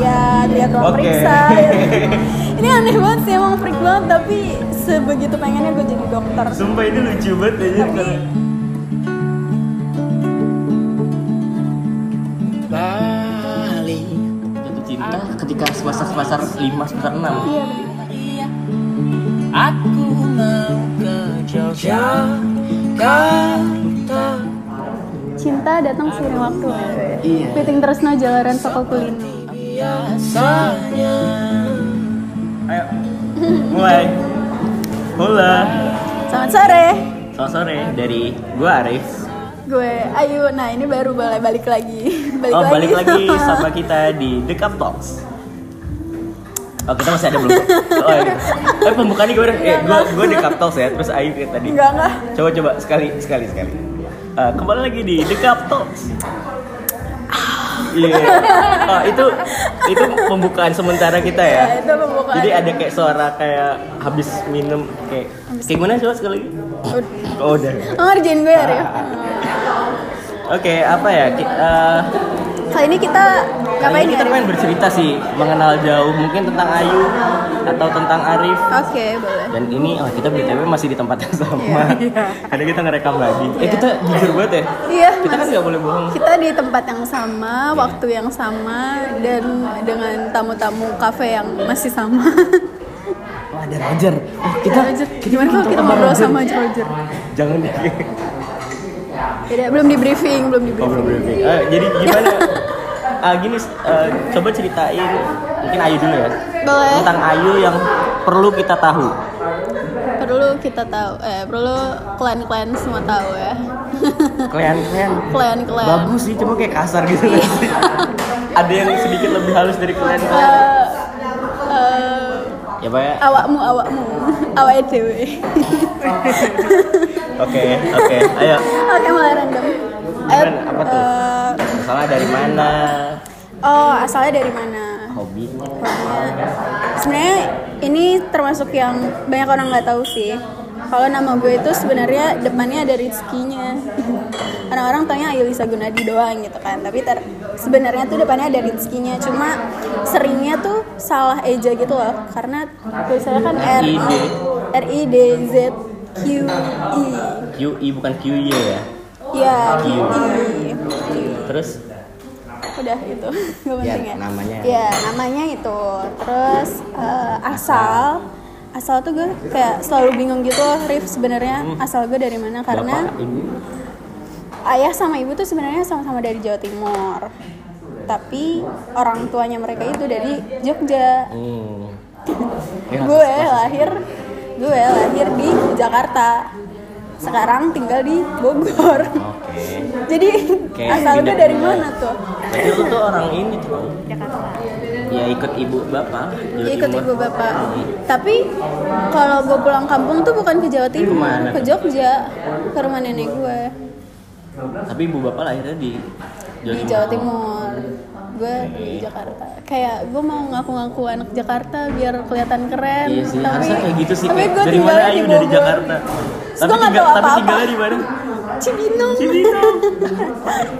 banyak ruang Oke. periksa ya. ini aneh banget sih emang freak banget tapi sebegitu pengennya gue jadi dokter Sumpah ini lucu banget ya, aja tapi Bali Jatuh cinta ketika semester semester lima semester enam. iya Aku mau ke Yogyakarta cinta datang seiring waktu ya, Iya. Piting Tresno Jalaran Sokokulino Biasanya Ayo mulai. Hola. Selamat sore Selamat sore dari gua Arif. gue Ayu nah ini baru boleh balik lagi balik oh balik lagi sama kita di The Cup Talks. Oh kita masih ada belum? Oh, iya. Eh pembukaan gue udah, eh gue gue The Cup Talks ya. Terus Ayu kayak tadi. enggak enggak Coba coba sekali sekali sekali. Eh, kembali lagi di The Cup Talks. Iya. Oh, itu itu pembukaan sementara kita ya, ya. itu pembukaan Jadi ada kayak suara kayak habis minum kayak kayak gimana coba sekali lagi? Udah. Oh udah. Oh, ngerjain gue ya Ah, Oke apa ya? Ki- eh, kali ini kita kali ngapain ini nih kita Arif? pengen bercerita sih mengenal jauh mungkin tentang Ayu atau tentang Arif. oke boleh Dan ini oh, kita BTW masih di tempat yang sama. Iya. Karena kita ngerekam lagi. Eh Iya. kita jujur banget ya. iya Kita kan Mas. nggak boleh bohong. kita di tempat yang sama waktu yang sama dan dengan tamu-tamu kafe yang masih sama Oh, ada Roger. Oh, kita Roger Iya, gimana kalau kita ngobrol sama Roger jangan di Beda, belum di briefing belum di Oh, briefing belum belum, belum. Eh, jadi gimana? Ah, gini, eh, coba ceritain mungkin Ayu dulu ya. Boleh. Tentang Ayu yang perlu kita tahu. perlu kita tahu eh perlu klien-klien semua tahu ya Klien-klien klien-klien bagus sih, cuma kayak kasar gitu. Iya. nggak sih? Ada yang sedikit lebih halus dari Eh, klien-klien. eh, Ya, Pak. ya? awakmu awakmu awak dewe Oke, oke. Ayo. oke mulai random Eh, Gimana? Apa tuh? eh, Masalah dari mana? oh asalnya dari mana Hobi. Pokoknya, sebenarnya ini termasuk yang banyak orang nggak tahu sih kalau nama gue itu sebenarnya depannya ada Rizky-nya orang-orang tanya Ayulisa Gunadi doang gitu kan tapi ter- sebenarnya tuh depannya ada Rizky-nya cuma seringnya tuh salah eja gitu loh karena tulisannya kan R RID. R I D Z Q I QI bukan QY ya. ya Q. I Terus udah gitu gak Ya, penting ya, namanya. ya namanya itu terus eh, asal asal tuh gue kayak selalu bingung gitu loh, Rif sebenarnya asal gue dari mana karena Hmm. Bapak Ibu. ayah sama ibu tuh sebenarnya sama-sama dari Jawa Timur tapi orang tuanya mereka itu dari Jogja Hmm. Iya, gue lahir gue lahir di Jakarta sekarang tinggal di Bogor Oke. jadi Oh. Oke, asal gue tidak- dari mana tuh Tapi lu tuh orang ini tuh. Ya ikut ibu bapak. Jawa Iya ikut Timur. ibu bapak. Tapi kalau gue pulang kampung tuh bukan ke Jawa Timur, Kemana? ke Jogja, ke rumah nenek gue Tapi ibu bapak lahirnya di di Jawa Timur. Gue di Jakarta. Kayak gue mau ngaku-ngaku anak Jakarta biar kelihatan keren. Iya sih, tapi, harusnya kayak gitu sih. Tapi kayak, gue dari mana tinggalnya di Ayu Bogor. dari Jakarta? Terus gue nggak tahu tinggal- tapi apa-apa. tinggalnya di mana? Cibinong. Cibinong.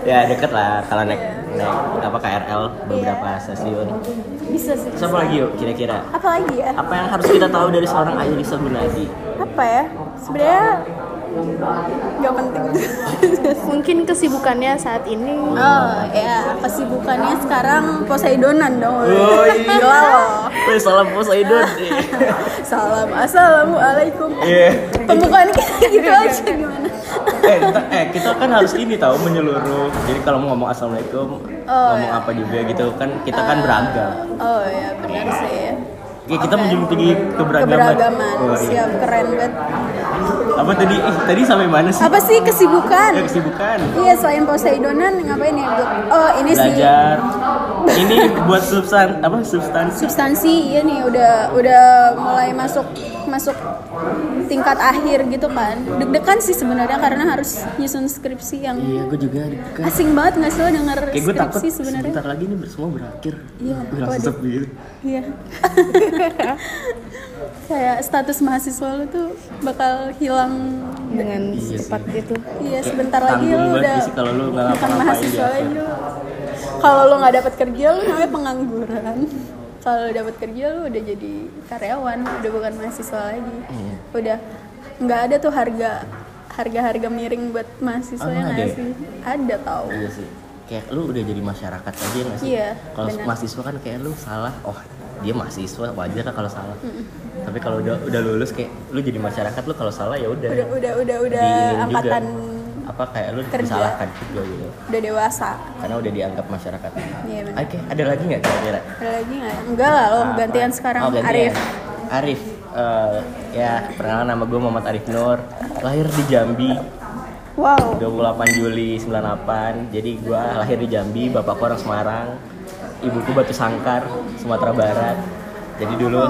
Ya deket lah kalau naik naik apa KRL beberapa stasiun. Bisa sih. Terus apa Iya. lagi yuk kira-kira? Apa lagi ya? Apa yang harus kita tahu dari seorang Ayu Lisa Gunadi? Apa ya? Sebenarnya nggak penting. Mungkin kesibukannya saat ini Oh ya, kesibukannya sekarang Poseidonan dong. Oh, iya. Gila loh. Wih, salam Poseidon. Salam, assalamualaikum. Iya. Pembukaan kita gitu aja gimana? eh, ntar- eh, kita kan harus ini tahu menyeluruh. Jadi kalau mau ngomong assalamualaikum, Oh, ngomong iya. apa juga gitu kan kita kan beragam. Oh ya benar sih. Ya, kita menjunjung tinggi keberagaman. Keberagaman, Oh, iya. siap keren banget. Apa tadi? Eh, tadi sampai mana sih? Apa sih Ya kesibukan? kesibukan. Iya selain Poseidonan ngapain ya? Bu? Oh ini sih Belajar. Ini buat substan apa substansi? substansi iya nih udah udah mulai masuk masuk tingkat akhir gitu kan. Deg-degan sih sebenarnya karena harus nyusun skripsi yang Iya, gue juga deg-degan. asing banget nggak sih lo denger Kayak gue takut skripsi sebenarnya? sebentar lagi ini semua berakhir. Iya, Gue langsung waduh. sepi gitu. Iya. Kayak status mahasiswa lu tuh bakal hilang. dengan Iya cepat itu Iya, Kayak sebentar lagi tanggung lu banget udah sih kalau lu nggak bukan ngapa-ngapain mahasiswa biasa. lagi lu. Kalau lu nggak dapat kerja lu namanya pengangguran. kalau dapat kerja lu udah jadi karyawan udah bukan mahasiswa lagi Iya. udah nggak ada tuh harga harga harga miring buat mahasiswa Ah, yang ada ya? sih ada tau Iya sih. Kayak lu udah jadi masyarakat aja nggak sih? Iya, Kalau benar. mahasiswa kan kayak lu salah. Oh, dia mahasiswa wajar lah kalau salah. Tapi kalau udah udah lulus kayak lu jadi masyarakat lu kalau salah ya udah. udah udah udah udah Diinin juga. angkatan apa kayak lu kerja. disalahkan juga gitu. udah dewasa Karena udah dianggap masyarakat. Iya, benar. Oke, ada lagi nggak kira-kira? ada lagi nggak ya? enggak lah lo Apa? gantian sekarang Oh, gantian. Arif Arif. eh, ya, perkenalan nama gue Muhammad Arif Nur. Lahir di Jambi wow 28 Juli 98. Jadi gue lahir di Jambi, bapakku orang Semarang, ibuku Batu Sangkar, Sumatera Barat. Jadi dulu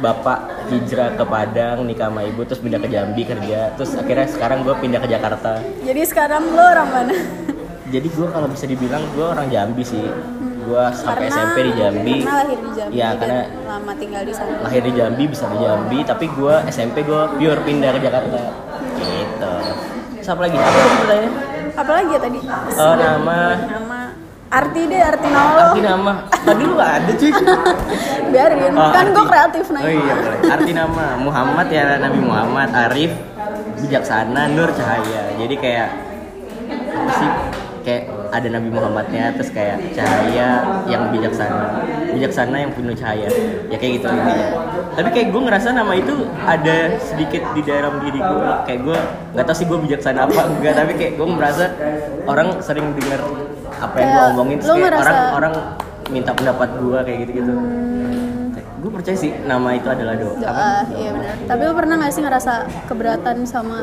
bapak hijrah ke Padang, nikah sama ibu, terus pindah ke Jambi kerja. Terus akhirnya sekarang gue pindah ke Jakarta. jadi sekarang lo orang mana Jadi gue kalau bisa dibilang gue orang Jambi sih. Gue sampai SMP di Jambi. karena lahir di Jambi Iya, dan karena lama tinggal di sana lahir di Jambi bisa di Jambi tapi gue SMP gue pure pindah ke Jakarta gitu siapa lagi apa tadi pertanyaan apalagi ya tadi Eh, nama nama arti deh arti nama lo arti nama tadi lu nggak ada cuy biarin Oh, kan gue arti- kreatif nah oh iya boleh arti nama Muhammad ya Nabi Muhammad Arif bijaksana Nur Cahaya jadi kayak apa sih kayak ada Nabi Muhammadnya terus kayak cahaya yang bijaksana bijaksana yang penuh cahaya ya kayak gitu intinya tapi kayak gue ngerasa nama itu ada sedikit di dalam diri gue kayak gue nggak tahu sih gue bijaksana apa enggak tapi kayak gue merasa orang sering dengar apa yang gue Kayak omongin terus lo kayak ngerasa- Hmm. orang orang minta pendapat gue kayak gitu gitu gue percaya sih nama itu adalah doa, apa? doa iya benar tapi lo pernah gak sih ngerasa keberatan sama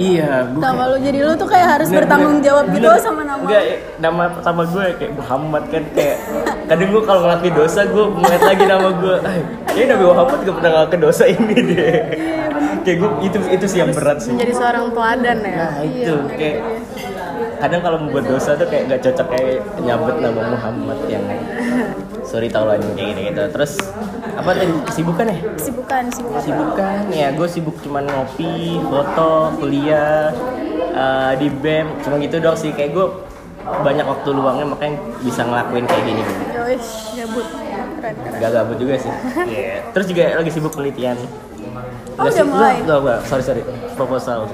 iya gue nama lo jadi lo tuh kayak harus Bener, bertanggung bener. jawab gitu Bener. sama nama Enggak, ya, nama pertama gue kayak Muhammad kan kayak kadang gue kalau ngelakuin dosa gue ngeliat lagi nama gue "Ay, kayaknya Nabi Muhammad gak pernah ngelakuin dosa ini deh Iya, kayak gue itu itu sih yang berat sih Menjadi seorang teladan ya. nah itu kayak kadang kalau membuat dosa tuh kayak gak cocok kayak nyabet nama Muhammad yang sorry tau lah ini kayak gitu, gitu terus apa tadi kesibukan ya kesibukan sibuk Sibukan ya, gue sibuk cuman ngopi, foto, kuliah, eh, di BEM, cuma gitu doang sih. Kayak gue banyak waktu luangnya makanya bisa ngelakuin kayak gini. Yowis, gabut keren keren Gak gabut juga sih. Iya. Terus juga lagi sibuk penelitian. Oh, Nggak udah mulai? nggak, nggak, nggak. sorry, sorry. Proposal.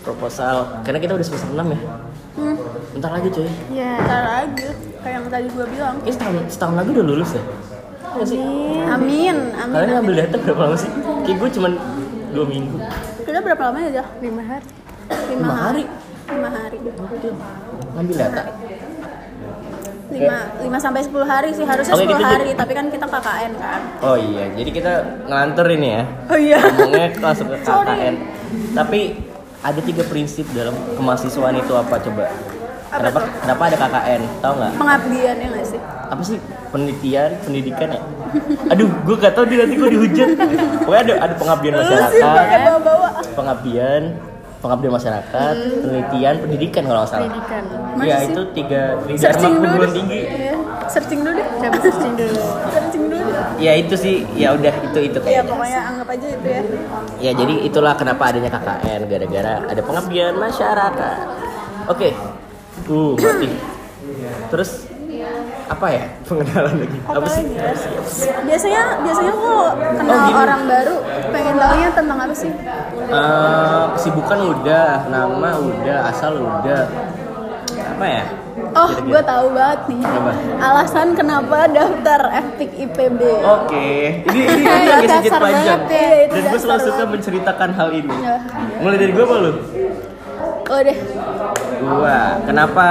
Proposal. Karena kita udah semester 6 ya. hmm, Bentar lagi cuy. Iya. ntar aja kayak yang tadi gue bilang Ini setahun, setahun lagi udah lulus ya? Iya sih? amin amin Kalian ngambil data berapa lama sih? Kayak gue cuman dua minggu. kita berapa lama aja Lima hari. lima hari lima hari Oh, ya. Ngambil data? lima lima sampai sepuluh hari sih harusnya Oke, sepuluh gitu, hari tapi kan kita KKN kan Oh iya, jadi kita ngelantur ini ya. oh iya ngomongnya langsung ke Sorry. KKN. Tapi ada tiga prinsip dalam kemahasiswaan itu apa coba? Apa kenapa tuh? kenapa ada KKN? Tahu nggak? pengabdian ya nggak sih Apa sih penelitian, pendidikan ya? Aduh, gue gak tau dia nanti gue dihujat. Pokoknya ada ada pengabdian lu sih pakai masyarakat, bawa bawa pengabdian, pengabdian masyarakat, Hmm. penelitian, pendidikan kalau nggak salah. Pendidikan. Masa Iya sih? itu tiga tiga searching emang dulu perguruan tinggi. Iya, searching dulu deh Coba searching dulu. searching dulu deh Ya itu sih, ya udah itu itu ya kayaknya. pokoknya anggap aja itu ya Ya jadi itulah kenapa adanya KKN gara-gara ada pengabdian masyarakat. Oke. Uh, mati. Terus apa ya? Pengenalan lagi. Apa sih? Apalagi ya? biasanya biasanya kalau kenal Oh, gini. orang baru pengen taunya tentang apa sih Eh, kesibukan udah, nama udah, asal udah. Apa ya? oh Kira-kira. gue tahu banget nih Apa? alasan kenapa daftar FPIK IPB Oke, ini ini ini Iya, agak sedikit dasar panjang. banget ya. Iya, itu Dan gue dasar selalu suka banget. menceritakan hal ini. Ya. Mulai dari gue apa lu? oh deh Gua. Kenapa?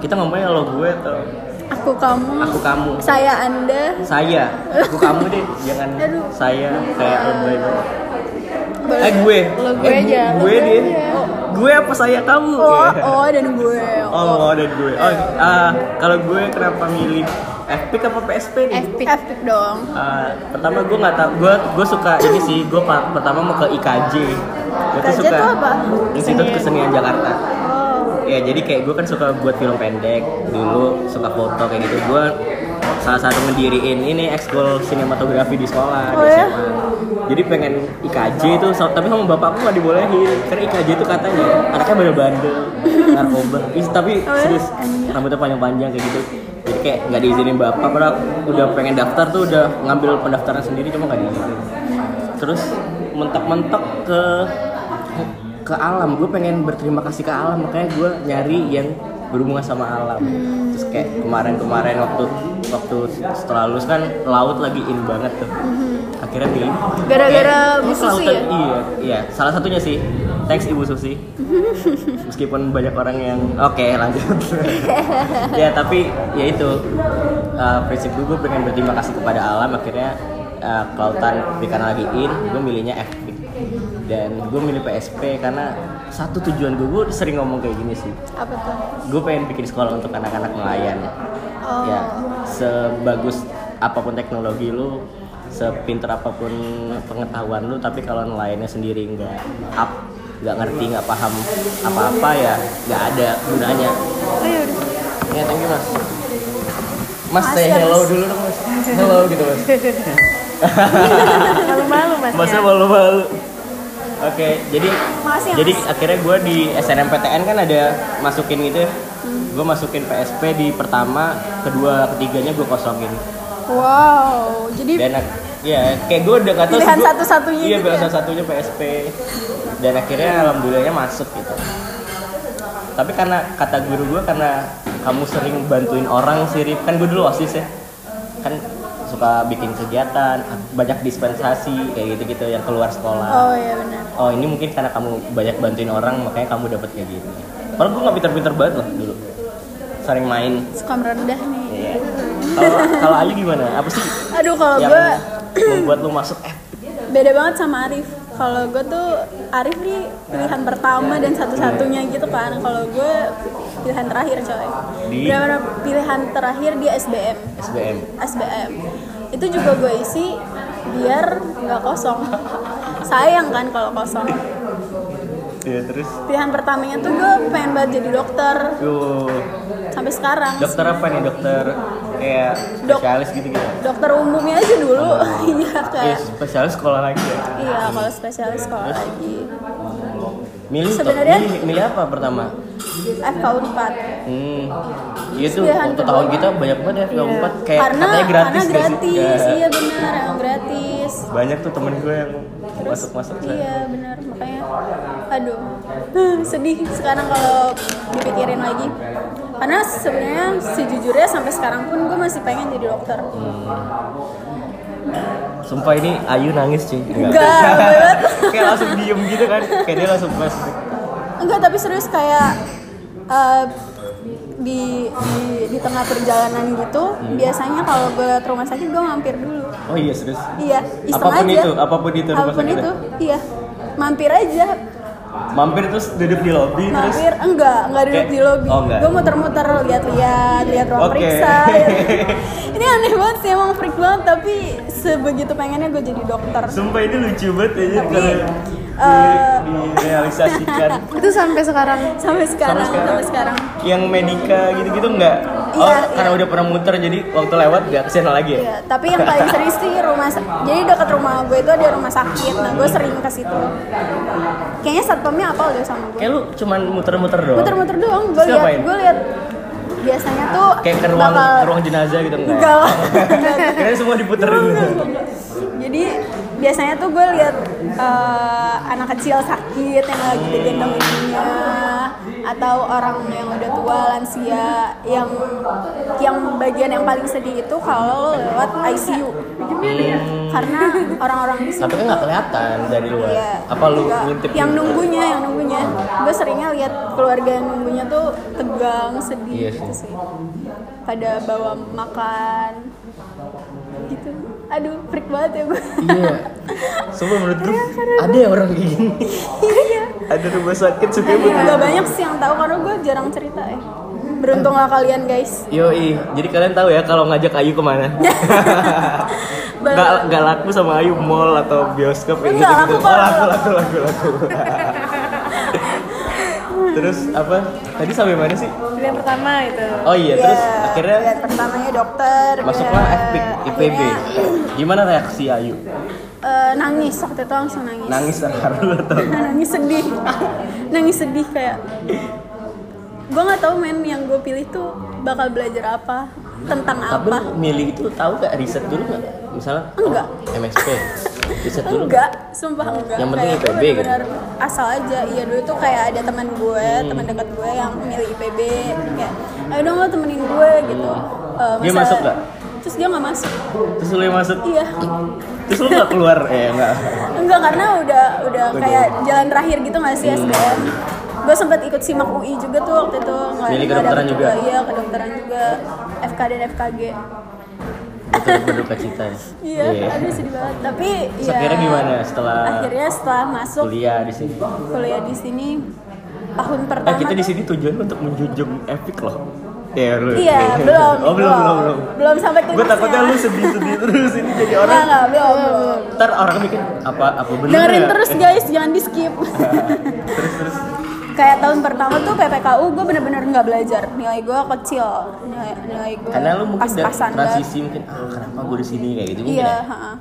Kita ngomongnya lo gue atau aku kamu aku kamu? saya anda saya aku kamu deh jangan Aduh. saya kayak lebay banget eh boleh gue Lo Eh, gue aja, lo gue gue deh Oh. aja. gue apa saya kamu oh oh dan gue oh, lo dan gue oh ah, kalau gue kenapa milih FPIK apa PSP nih FPIK. FPIK dong Ah, pertama gue nggak tau gue gue suka ini sih gue pa- pertama mau ke IKJ gue IKJ tuh apa? Institut Kesenian Jakarta oh ya jadi kayak gue kan suka buat film pendek dulu suka foto kayak gitu gue salah satu ngediriin ini ekskul sinematografi di sekolah di Oh ya? SMA. jadi pengen IKJ itu so- tapi sama bapakku nggak dibolehin Kan karena IKJ itu katanya anaknya bandel bandel narkoba Ih, tapi Oh ya? serius rambutnya panjang panjang kayak gitu jadi kayak nggak diizinin bapak padahal udah pengen daftar tuh udah ngambil pendaftaran sendiri cuma nggak diizinin terus mentok-mentok ke ke alam gue pengen berterima kasih ke alam makanya gue nyari yang berhubungan sama alam Hmm. terus kayak kemarin-kemarin waktu waktu setelah lulus kan laut lagi in banget tuh akhirnya pilih Hmm. Gara-gara Eh, Bu oh, Susi kelautan. ya? iya iya salah satunya sih thanks ibu Susi meskipun banyak orang yang oke lanjut ya tapi ya itu uh, prinsip gue gue pengen berterima kasih kepada alam akhirnya uh, kelautan karena lagi in gue milihnya FP dan gue milih PSP karena satu tujuan gue gue sering ngomong kayak gini sih apa tuh gue pengen bikin sekolah untuk anak-anak nelayan Oh. ya sebagus apapun teknologi lu sepinter apapun pengetahuan lu tapi kalau nelayannya sendiri nggak up nggak ngerti nggak paham apa-apa ya nggak ada gunanya ya thank you mas mas Mas, saya ya, hello Mas. dulu dong mas hello gitu mas Malu-malu mas. ya. masnya malu-malu oke jadi Makasih ya, jadi Mas. akhirnya gue di SNMPTN kan ada masukin gitu Hmm. gue masukin PSP di pertama kedua ketiganya gue kosongin wow jadi dan ak- ya kayak gue udah gak tau Pilihan satu-satunya iya gitu pilihan ya? satu-satunya PSP dan akhirnya alhamdulillahnya masuk gitu tapi karena kata guru gue karena kamu sering bantuin orang sih Rif. kan gue dulu osis ya kan suka bikin kegiatan banyak dispensasi kayak gitu-gitu yang keluar sekolah oh. oh ya benar ini mungkin karena kamu banyak bantuin orang makanya kamu dapat kayak gini kalau gue nggak pinter-pinter banget loh dulu sering main suka merendah nih Iya. kalau kalau Ayu gimana apa sih aduh kalau yang gue membuat lu masuk F beda banget sama Arif kalau gue tuh Arif nih pilihan pertama dan satu-satunya gitu kan kalau gue pilihan terakhir coy Di? benar pilihan terakhir di SBM SBM SBM itu juga gue isi biar nggak kosong sayang kan kalau kosong ya terus pilihan pertamanya tuh gue pengen banget jadi dokter tuh sampai sekarang dokter apa nih dokter kayak Dok- spesialis gitu gitu dokter umumnya aja dulu iya ya kayak spesialis sekolah lagi ya iya kalau spesialis sekolah lagi milih tuh Sebenarnya- milih, milih apa pertama FKU 4 hmm itu Pilihan waktu kedua. tahun kita banyak banget ya tahun empat kayak Iya. karena katanya gratis karena gak sih? gratis Kayak iya benar emang gratis banyak tuh temen gue yang masuk masuk iya benar makanya aduh huh, sedih sekarang kalau dipikirin lagi karena sebenarnya sejujurnya sampai sekarang pun gue masih pengen jadi dokter sumpah ini Ayu nangis sih Enggak, banget. kayak langsung diem gitu kan kayak dia langsung flashback enggak tapi serius kayak eh, di, di di tengah perjalanan gitu Hmm. biasanya kalau gue ke rumah sakit gue mampir dulu oh iya serius iya iseng Apapun aja itu, apapun itu rumah apapun sakitnya. itu iya mampir aja mampir terus duduk di lobby terus Mampir enggak, enggak duduk Kayak- di lobi. oh, enggak. gue muter-muter lihat-lihat, lihat ruang Oke. periksa. ya. Ini aneh banget sih emang freak banget tapi sebegitu pengennya gue jadi dokter. Sumpah ini lucu banget ya Tapi, kalau eh, di, direalisasikan Itu sampai sekarang. Sampai sekarang, sekarang. sampai sekarang. yang medika gitu-gitu enggak. Oh, Iya, karena iya. udah pernah muter jadi waktu lewat enggak kesana lagi ya. Iya, tapi yang paling serius sih rumah sa- jadi dekat rumah gue itu ada rumah sakit. Nah, gue sering ke situ. Kayaknya satpamnya apal deh sama gue. Kayak lu cuman muter-muter doang. Muter-muter doang, gue Terus ngapain? lihat, gue lihat biasanya tuh Kayak ke ruang bakal- ke ruang jenazah gitu enggak. Enggak lah. Kira semua diputerin. Jadi biasanya tuh gue lihat eh, anak kecil sakit yang lagi digendong ibunya atau orang yang udah tua lansia yang yang bagian yang paling sedih itu kalau lo lewat ICU karena orang-orang di Tapi situ kan enggak kelihatan dari luar. Iya. Apa lu Enggak. ngintip? yang nunggunya yang nunggunya gue seringnya lihat keluarga yang nunggunya tuh tegang sedih Iya sih. gitu sih pada bawa makan gitu aduh freak banget ya gue Iya. Sumpah menurut gue ada ya orang kayak gini. iya Ada rumah sakit suka nggak banyak sih yang tahu karena gue jarang cerita ya beruntunglah kalian guys Yoi, jadi kalian tahu ya kalau ngajak Ayu kemana? Iya, Nggak, Ba- nggak laku sama Ayu mall atau bioskop kayak Enggak, laku gitu-gitu. kok, Oh, laku, laku, laku, laku. terus apa? Tadi sampai mana sih? Pilihan pertama itu. Oh iya, terus Iya, akhirnya pilihan pertamanya dokter iya. masuklah pilihan- FP, IPB. akhirnya, Gimana reaksi Ayu? eh, nangis waktu itu langsung nangis Nangis terharu atau? nangis sedih nangis sedih kayak gue nggak tahu men yang gue pilih tuh bakal belajar apa tentang Tapi apa? lu milih itu lu tahu gak riset dulu gak? Misalnya oh, Enggak. MSP. Riset dulu enggak sumpah enggak Yang penting Kayak IPB gue gitu. bener-bener asal aja iya dulu tuh kayak ada teman gue Hmm. teman dekat gue yang milih IPB kayak ayo dong lo temenin gue gitu Eh, Hmm. Dia masa- masuk nggak? terus dia nggak masuk Terus lu yang masuk, iya terus lu gak keluar. Eh enggak. enggak karena udah udah kayak jalan terakhir gitu nggak Hmm. sih SBM gue sempet ikut simak UI juga tuh waktu itu nggak Milih nggak kedokteran dapet juga? iya kedokteran juga FK dan FKG Itu berduka cita. ya. iya aduh sedih banget tapi Terus ya akhirnya gimana setelah akhirnya setelah masuk kuliah di sini? kuliah di sini tahun pertama Eh kita di tuh- sini tujuan untuk menjunjung epic loh. Ya, lu. Iya, belum. Oh, belum, belum, belum. Belum sampai ke Gue takutnya lu titiknya. sedih-sedih terus ini jadi Enggak, orang. enggak, belum, belum. Ntar orang mikir apa apa bener Nah. Dengerin ya? terus guys, jangan di skip. Kayak tahun pertama tuh PPKU gue bener-bener nggak belajar. Nilai gue kecil. Nilai, nilai gue Karena lu mungkin dari pas-pasan banget. transisi mungkin ah kenapa gue di sini kayak gitu mungkin Iya, ha-ha.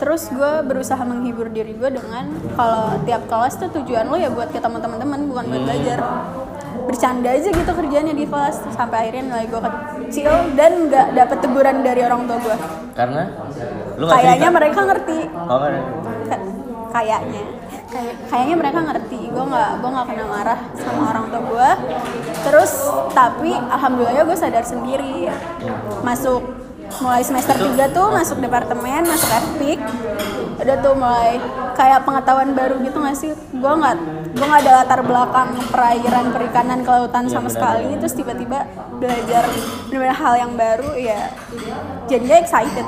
Terus gue berusaha menghibur diri gue dengan kalau tiap kelas tuh tujuan lo ya buat ketemu teman-teman bukan Hmm. buat belajar. Bercanda aja gitu kerjanya di kelas Terus sampai akhirnya nilai gue kecil dan nggak dapet teguran dari orang tua gue. ya. Karena lu nggak Kayaknya cerita. mereka ngerti. Oh, nggak ada. Ka- kayaknya Kayak- kayaknya mereka ngerti gue nggak gue nggak kena marah sama orang tua gue terus tapi alhamdulillahnya gue sadar sendiri masuk mulai semester 3 tuh masuk departemen masuk FPIK udah tuh mulai kayak pengetahuan baru gitu nggak sih gue nggak gue nggak ada latar belakang perairan perikanan kelautan sama sekali terus tiba-tiba belajar benar hal yang baru ya jadinya excited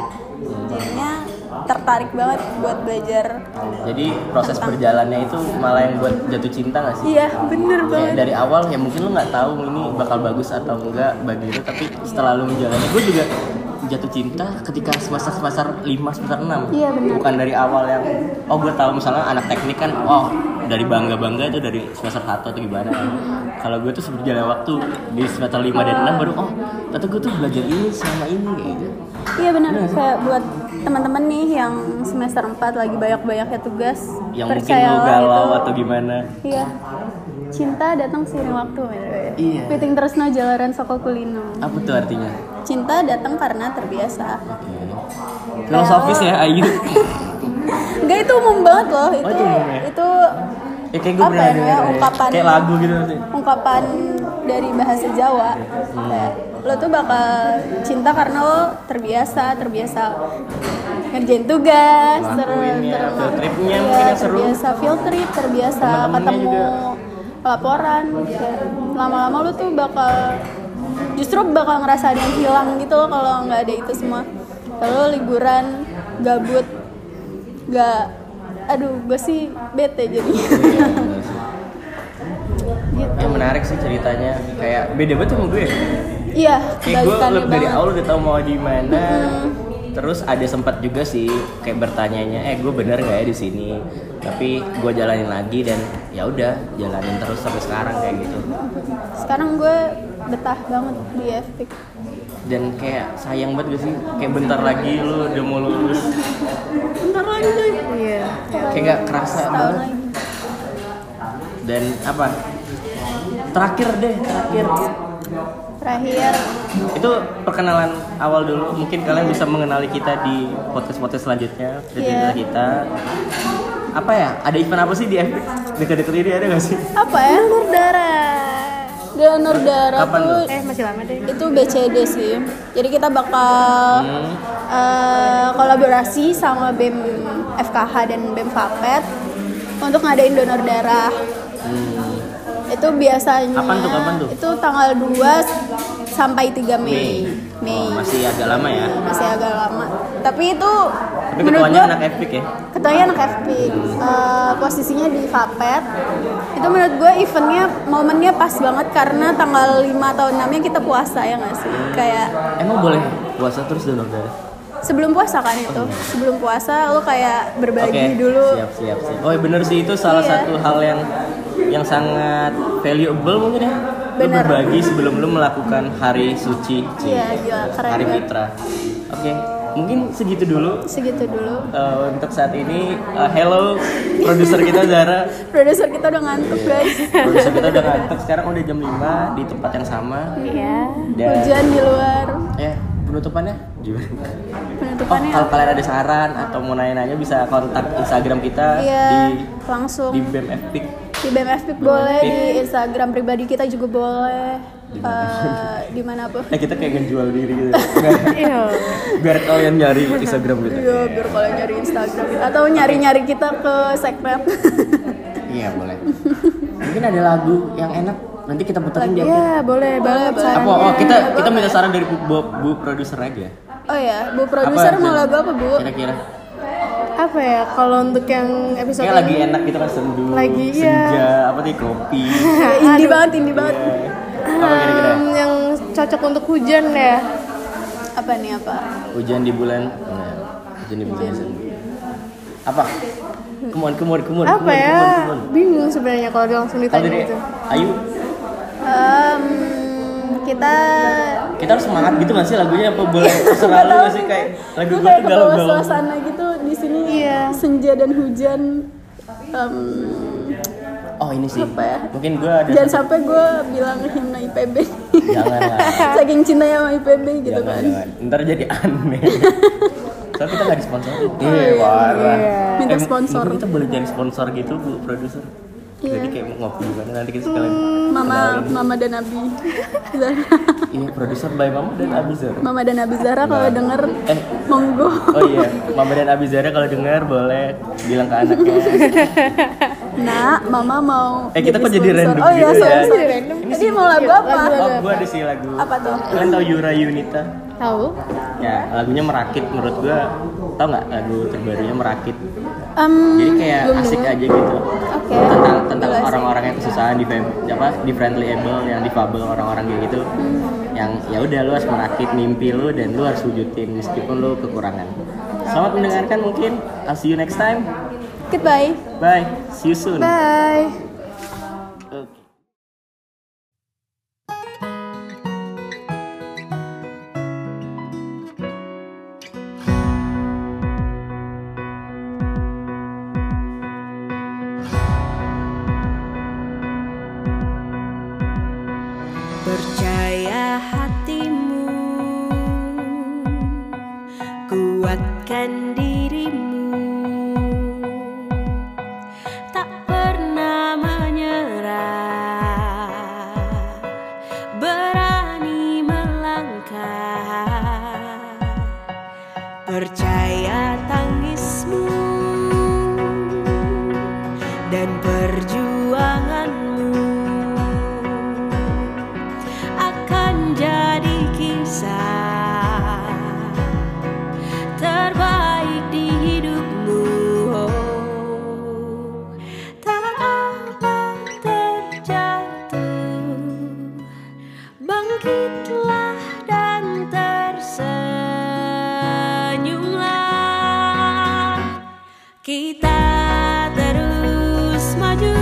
jadinya tertarik banget buat belajar Jadi proses berjalannya itu malah yang buat jatuh cinta gak sih? iya bener Kayak banget dari awal ya mungkin lu nggak tahu ini bakal bagus atau enggak bagi lu tapi setelah lu menjalani gue juga jatuh cinta ketika semester semester 5 semester 6 Iya, benar. bukan dari awal yang oh gue tahu misalnya anak teknik kan oh dari bangga bangga itu dari semester 1 atau gimana kalau gue tuh berjalan waktu di semester 5 dan 6 baru oh ternyata gue tuh belajar ini sama ini kayak gitu iya bener kayak buat teman-teman nih yang semester 4 lagi banyak-banyaknya tugas yang mungkin lu percayalah galau itu. atau gimana iya cinta datang seiring waktu men. Iya. Piting Tresno Jalaran Soko Kulino apa tuh artinya cinta datang karena terbiasa Oke. filosofis ya Ayu enggak itu umum banget loh itu itu umum ya? itu ya kayak gue Apa pernah ya, denger ya. ungkapan- kayak lagu gitu nanti ungkapan dari bahasa Jawa Kayak, lo tuh bakal cinta karena lo terbiasa terbiasa ngerjain tugas Iya. Ngelakuinnya, ter- ter- ya, field tripnya iya, mungkin yang seru. terbiasa field trip terbiasa Temen-temennya ketemu juga. laporan Kayak, lama-lama lo tuh bakal justru bakal ngerasa ada yang hilang gitu loh kalau nggak ada itu semua kalau liburan gabut nggak aduh gue sih bete jadi Ya menarik sih ceritanya kayak beda banget sama gue. Iya, Kayak gue kebalikannya leb- dari banget. awal udah tau mau di mana. Terus ada sempat juga sih kayak bertanyanya, eh gue bener nggak ya di sini? Tapi gue jalanin lagi dan ya udah jalanin terus sampai sekarang kayak gitu. Sekarang gue betah banget di Epic. Dan kayak sayang banget gak sih, kayak bentar lagi lu udah mau lulus, Bentar lagi deh. Iya. kayak nggak kerasa ya, Setahun banget. lagi. Dan apa? Terakhir deh, terakhir Terakhir itu perkenalan awal dulu mungkin kalian bisa mengenali kita di podcast podcast selanjutnya di Iya. cerita kita apa ya ada event apa sih di FB dekat-dekat ini ada nggak sih apa ya? Nurdara. Gila Nurdara Kapan tuh tuh? Eh masih lama deh. itu BCD sih. Jadi kita bakal Hmm. eh, kolaborasi sama BEM FKH dan BEM Fapet untuk ngadain donor darah. Hmm, Itu biasanya Kapan tuh, kapan tuh? itu tanggal 2 sampai 3 Mei. Oh, masih agak lama ya masih agak lama tapi itu tapi menurut ketuanya gue anak Epic ya ketuanya anak FP Eh, posisinya di Vapet itu menurut gue eventnya momennya pas banget karena tanggal 5 atau 6 nya kita puasa ya nggak sih kayak emang boleh puasa terus donor darah sebelum puasa kan itu sebelum puasa lo kayak oke berbagi dulu siap siap siap oh bener sih itu salah Iya. satu hal yang yang sangat valuable mungkin ya Lu Bener. berbagi sebelum lu melakukan hari suci Ci. Iya, gila, keren hari banget. fitrah oke mungkin segitu dulu segitu dulu eh, untuk saat ini Eh, hello produser kita Zara produser kita udah ngantuk Iya. guys produser kita udah ngantuk sekarang udah jam 5 di tempat yang sama Iya. dan hujan di luar ya penutupannya gimana Oh, penutupannya kalau kalian ada saran atau mau nanya-nanya bisa kontak Instagram kita iya di langsung di BEM Epic. di BMF Pick boleh Pick. di Instagram pribadi kita juga boleh Eh, dimanapun Eh kita kayak ngejual diri gitu. Biar- Iya. Biar kalian nyari Instagram gitu. kita. Iya, biar kalau nyari Instagram atau nyari-nyari kita ke segmen. Iya, boleh. Mungkin ada lagu yang enak nanti kita puterin dia. Iya, boleh banget boleh. Apa? sarannya. Oh, kita kita minta saran dari Bu, bu, bu produser aja. Oh ya, Bu produser mau lagu apa, Bu? Kira-kira. Apa ya kalau untuk yang episode Kayak lagi enak gitu kan sendu. Lagi, iya. senja, apa nih kopi. Ya, indie banget, indie banget. Iya. Apa kira-kira? Hmm, yang cocok untuk hujan ya. Apa nih apa? Hujan di bulan. Nah, hujan di bulan sendu. Apa? Kemuan, kemuan, kemuan. Apa kemuan, ya? kemuan, kemuan. Bingung sebenarnya kalau langsung Kalau ditanya dari gitu. Ayu, Em, kita kita harus semangat gitu gak sih lagunya apa boleh terserah Nggak lu tahu gak sih nih. kayak Gue kayak lagu gue tuh kebawa galau-galau. suasana gitu di sini Iya. senja dan hujan. Em, Oh ini sih, Apa ya? mungkin gue ada jangan sampai gue bilang himna IPB. jangan lah, Saking cintanya sama IPB gitu jangan, kan. jangan. Ntar jadi aneh. Soalnya kita gak disponsori. Oh, Iya, iya, parah. iya. Minta Eh, m- sponsor. mungkin Kita boleh jadi sponsor gitu bu produser. Iya. Hmm. Jadi kayak mau ngopi gimana nanti kita sekalian. Mama, Mama dan Abi Zara. Ini Iya, produser by Mama dan Abizar. Mama dan Abi Zara kalau denger Eh. monggo. Oh iya, Mama dan Abizara kalau dengar boleh bilang ke anaknya. Nah, Mama mau Eh, kita kok jadi sponsor. random Oh iya, gitu ya? sorry, sorry. Jadi random. Iya, Tadi mau lagu apa? Oh gue ada sih lagu. Apa tuh? Kalian tau Yura Yunita? Tahu? ya lagunya merakit menurut gua tau nggak lagu terbarunya merakit Em, jadi kayak Hmm, belum asik dengar. aja gitu Oke. tentang tentang Boleh. orang-orang yang kesusahan di fam- apa di friendly able yang difabel orang-orang kayak gitu Hmm. yang ya udah lu harus merakit mimpi lu dan lu harus wujudin meskipun lu kekurangan selamat mendengarkan mungkin I'll see you next time Goodbye. bye see you soon Bye. Oke. Percaya hatimu, kuatkan dirimu, tak pernah menyerah, berani melangkah. Percaya tangismu dan perjuanganmu akan jadi kisah terbaik di hidupmu. Tak apa terjatuh, bangkitlah dan tersenyumlah. Kita terus maju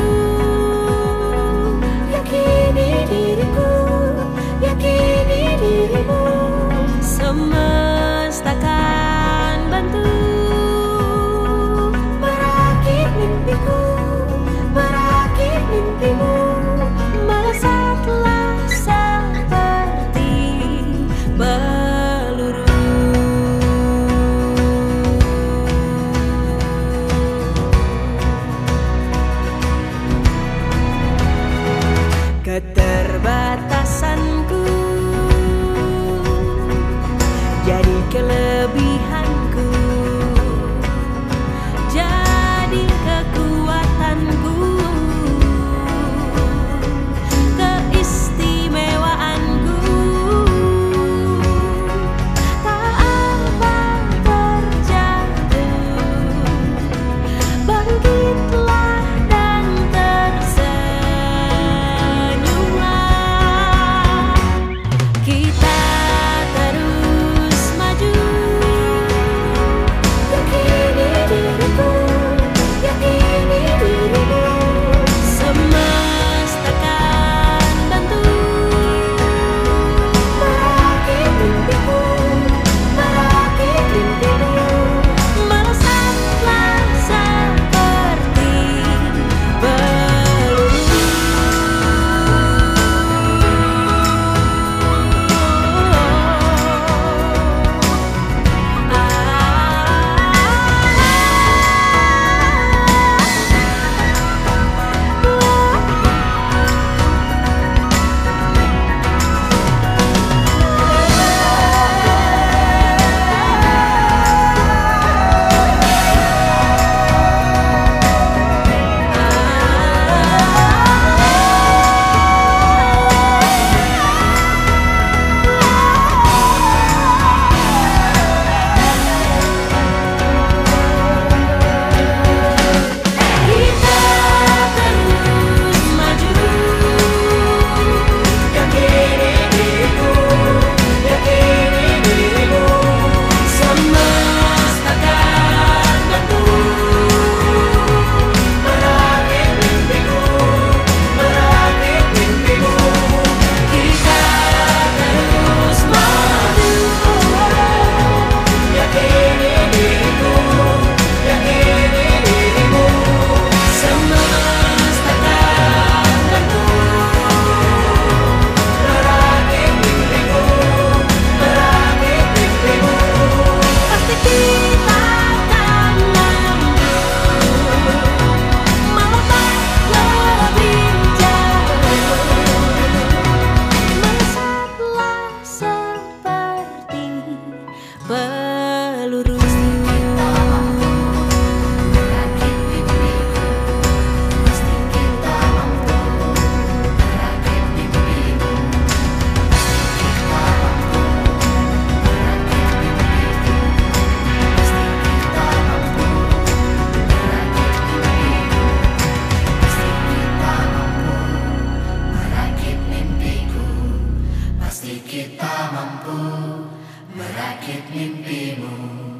Yakini diriku Yakini dirimu Semesta kan bantu Merakit mimpiku Merakit mimpimu Melesatlah seperti peluru keterbatasanku jadi kelebihanku jadi kekuatanku keistimewaanku tak apa terjatuh Bangkitlah dan tersenyumlah Ah, ah, kita mampu merakit mimpimu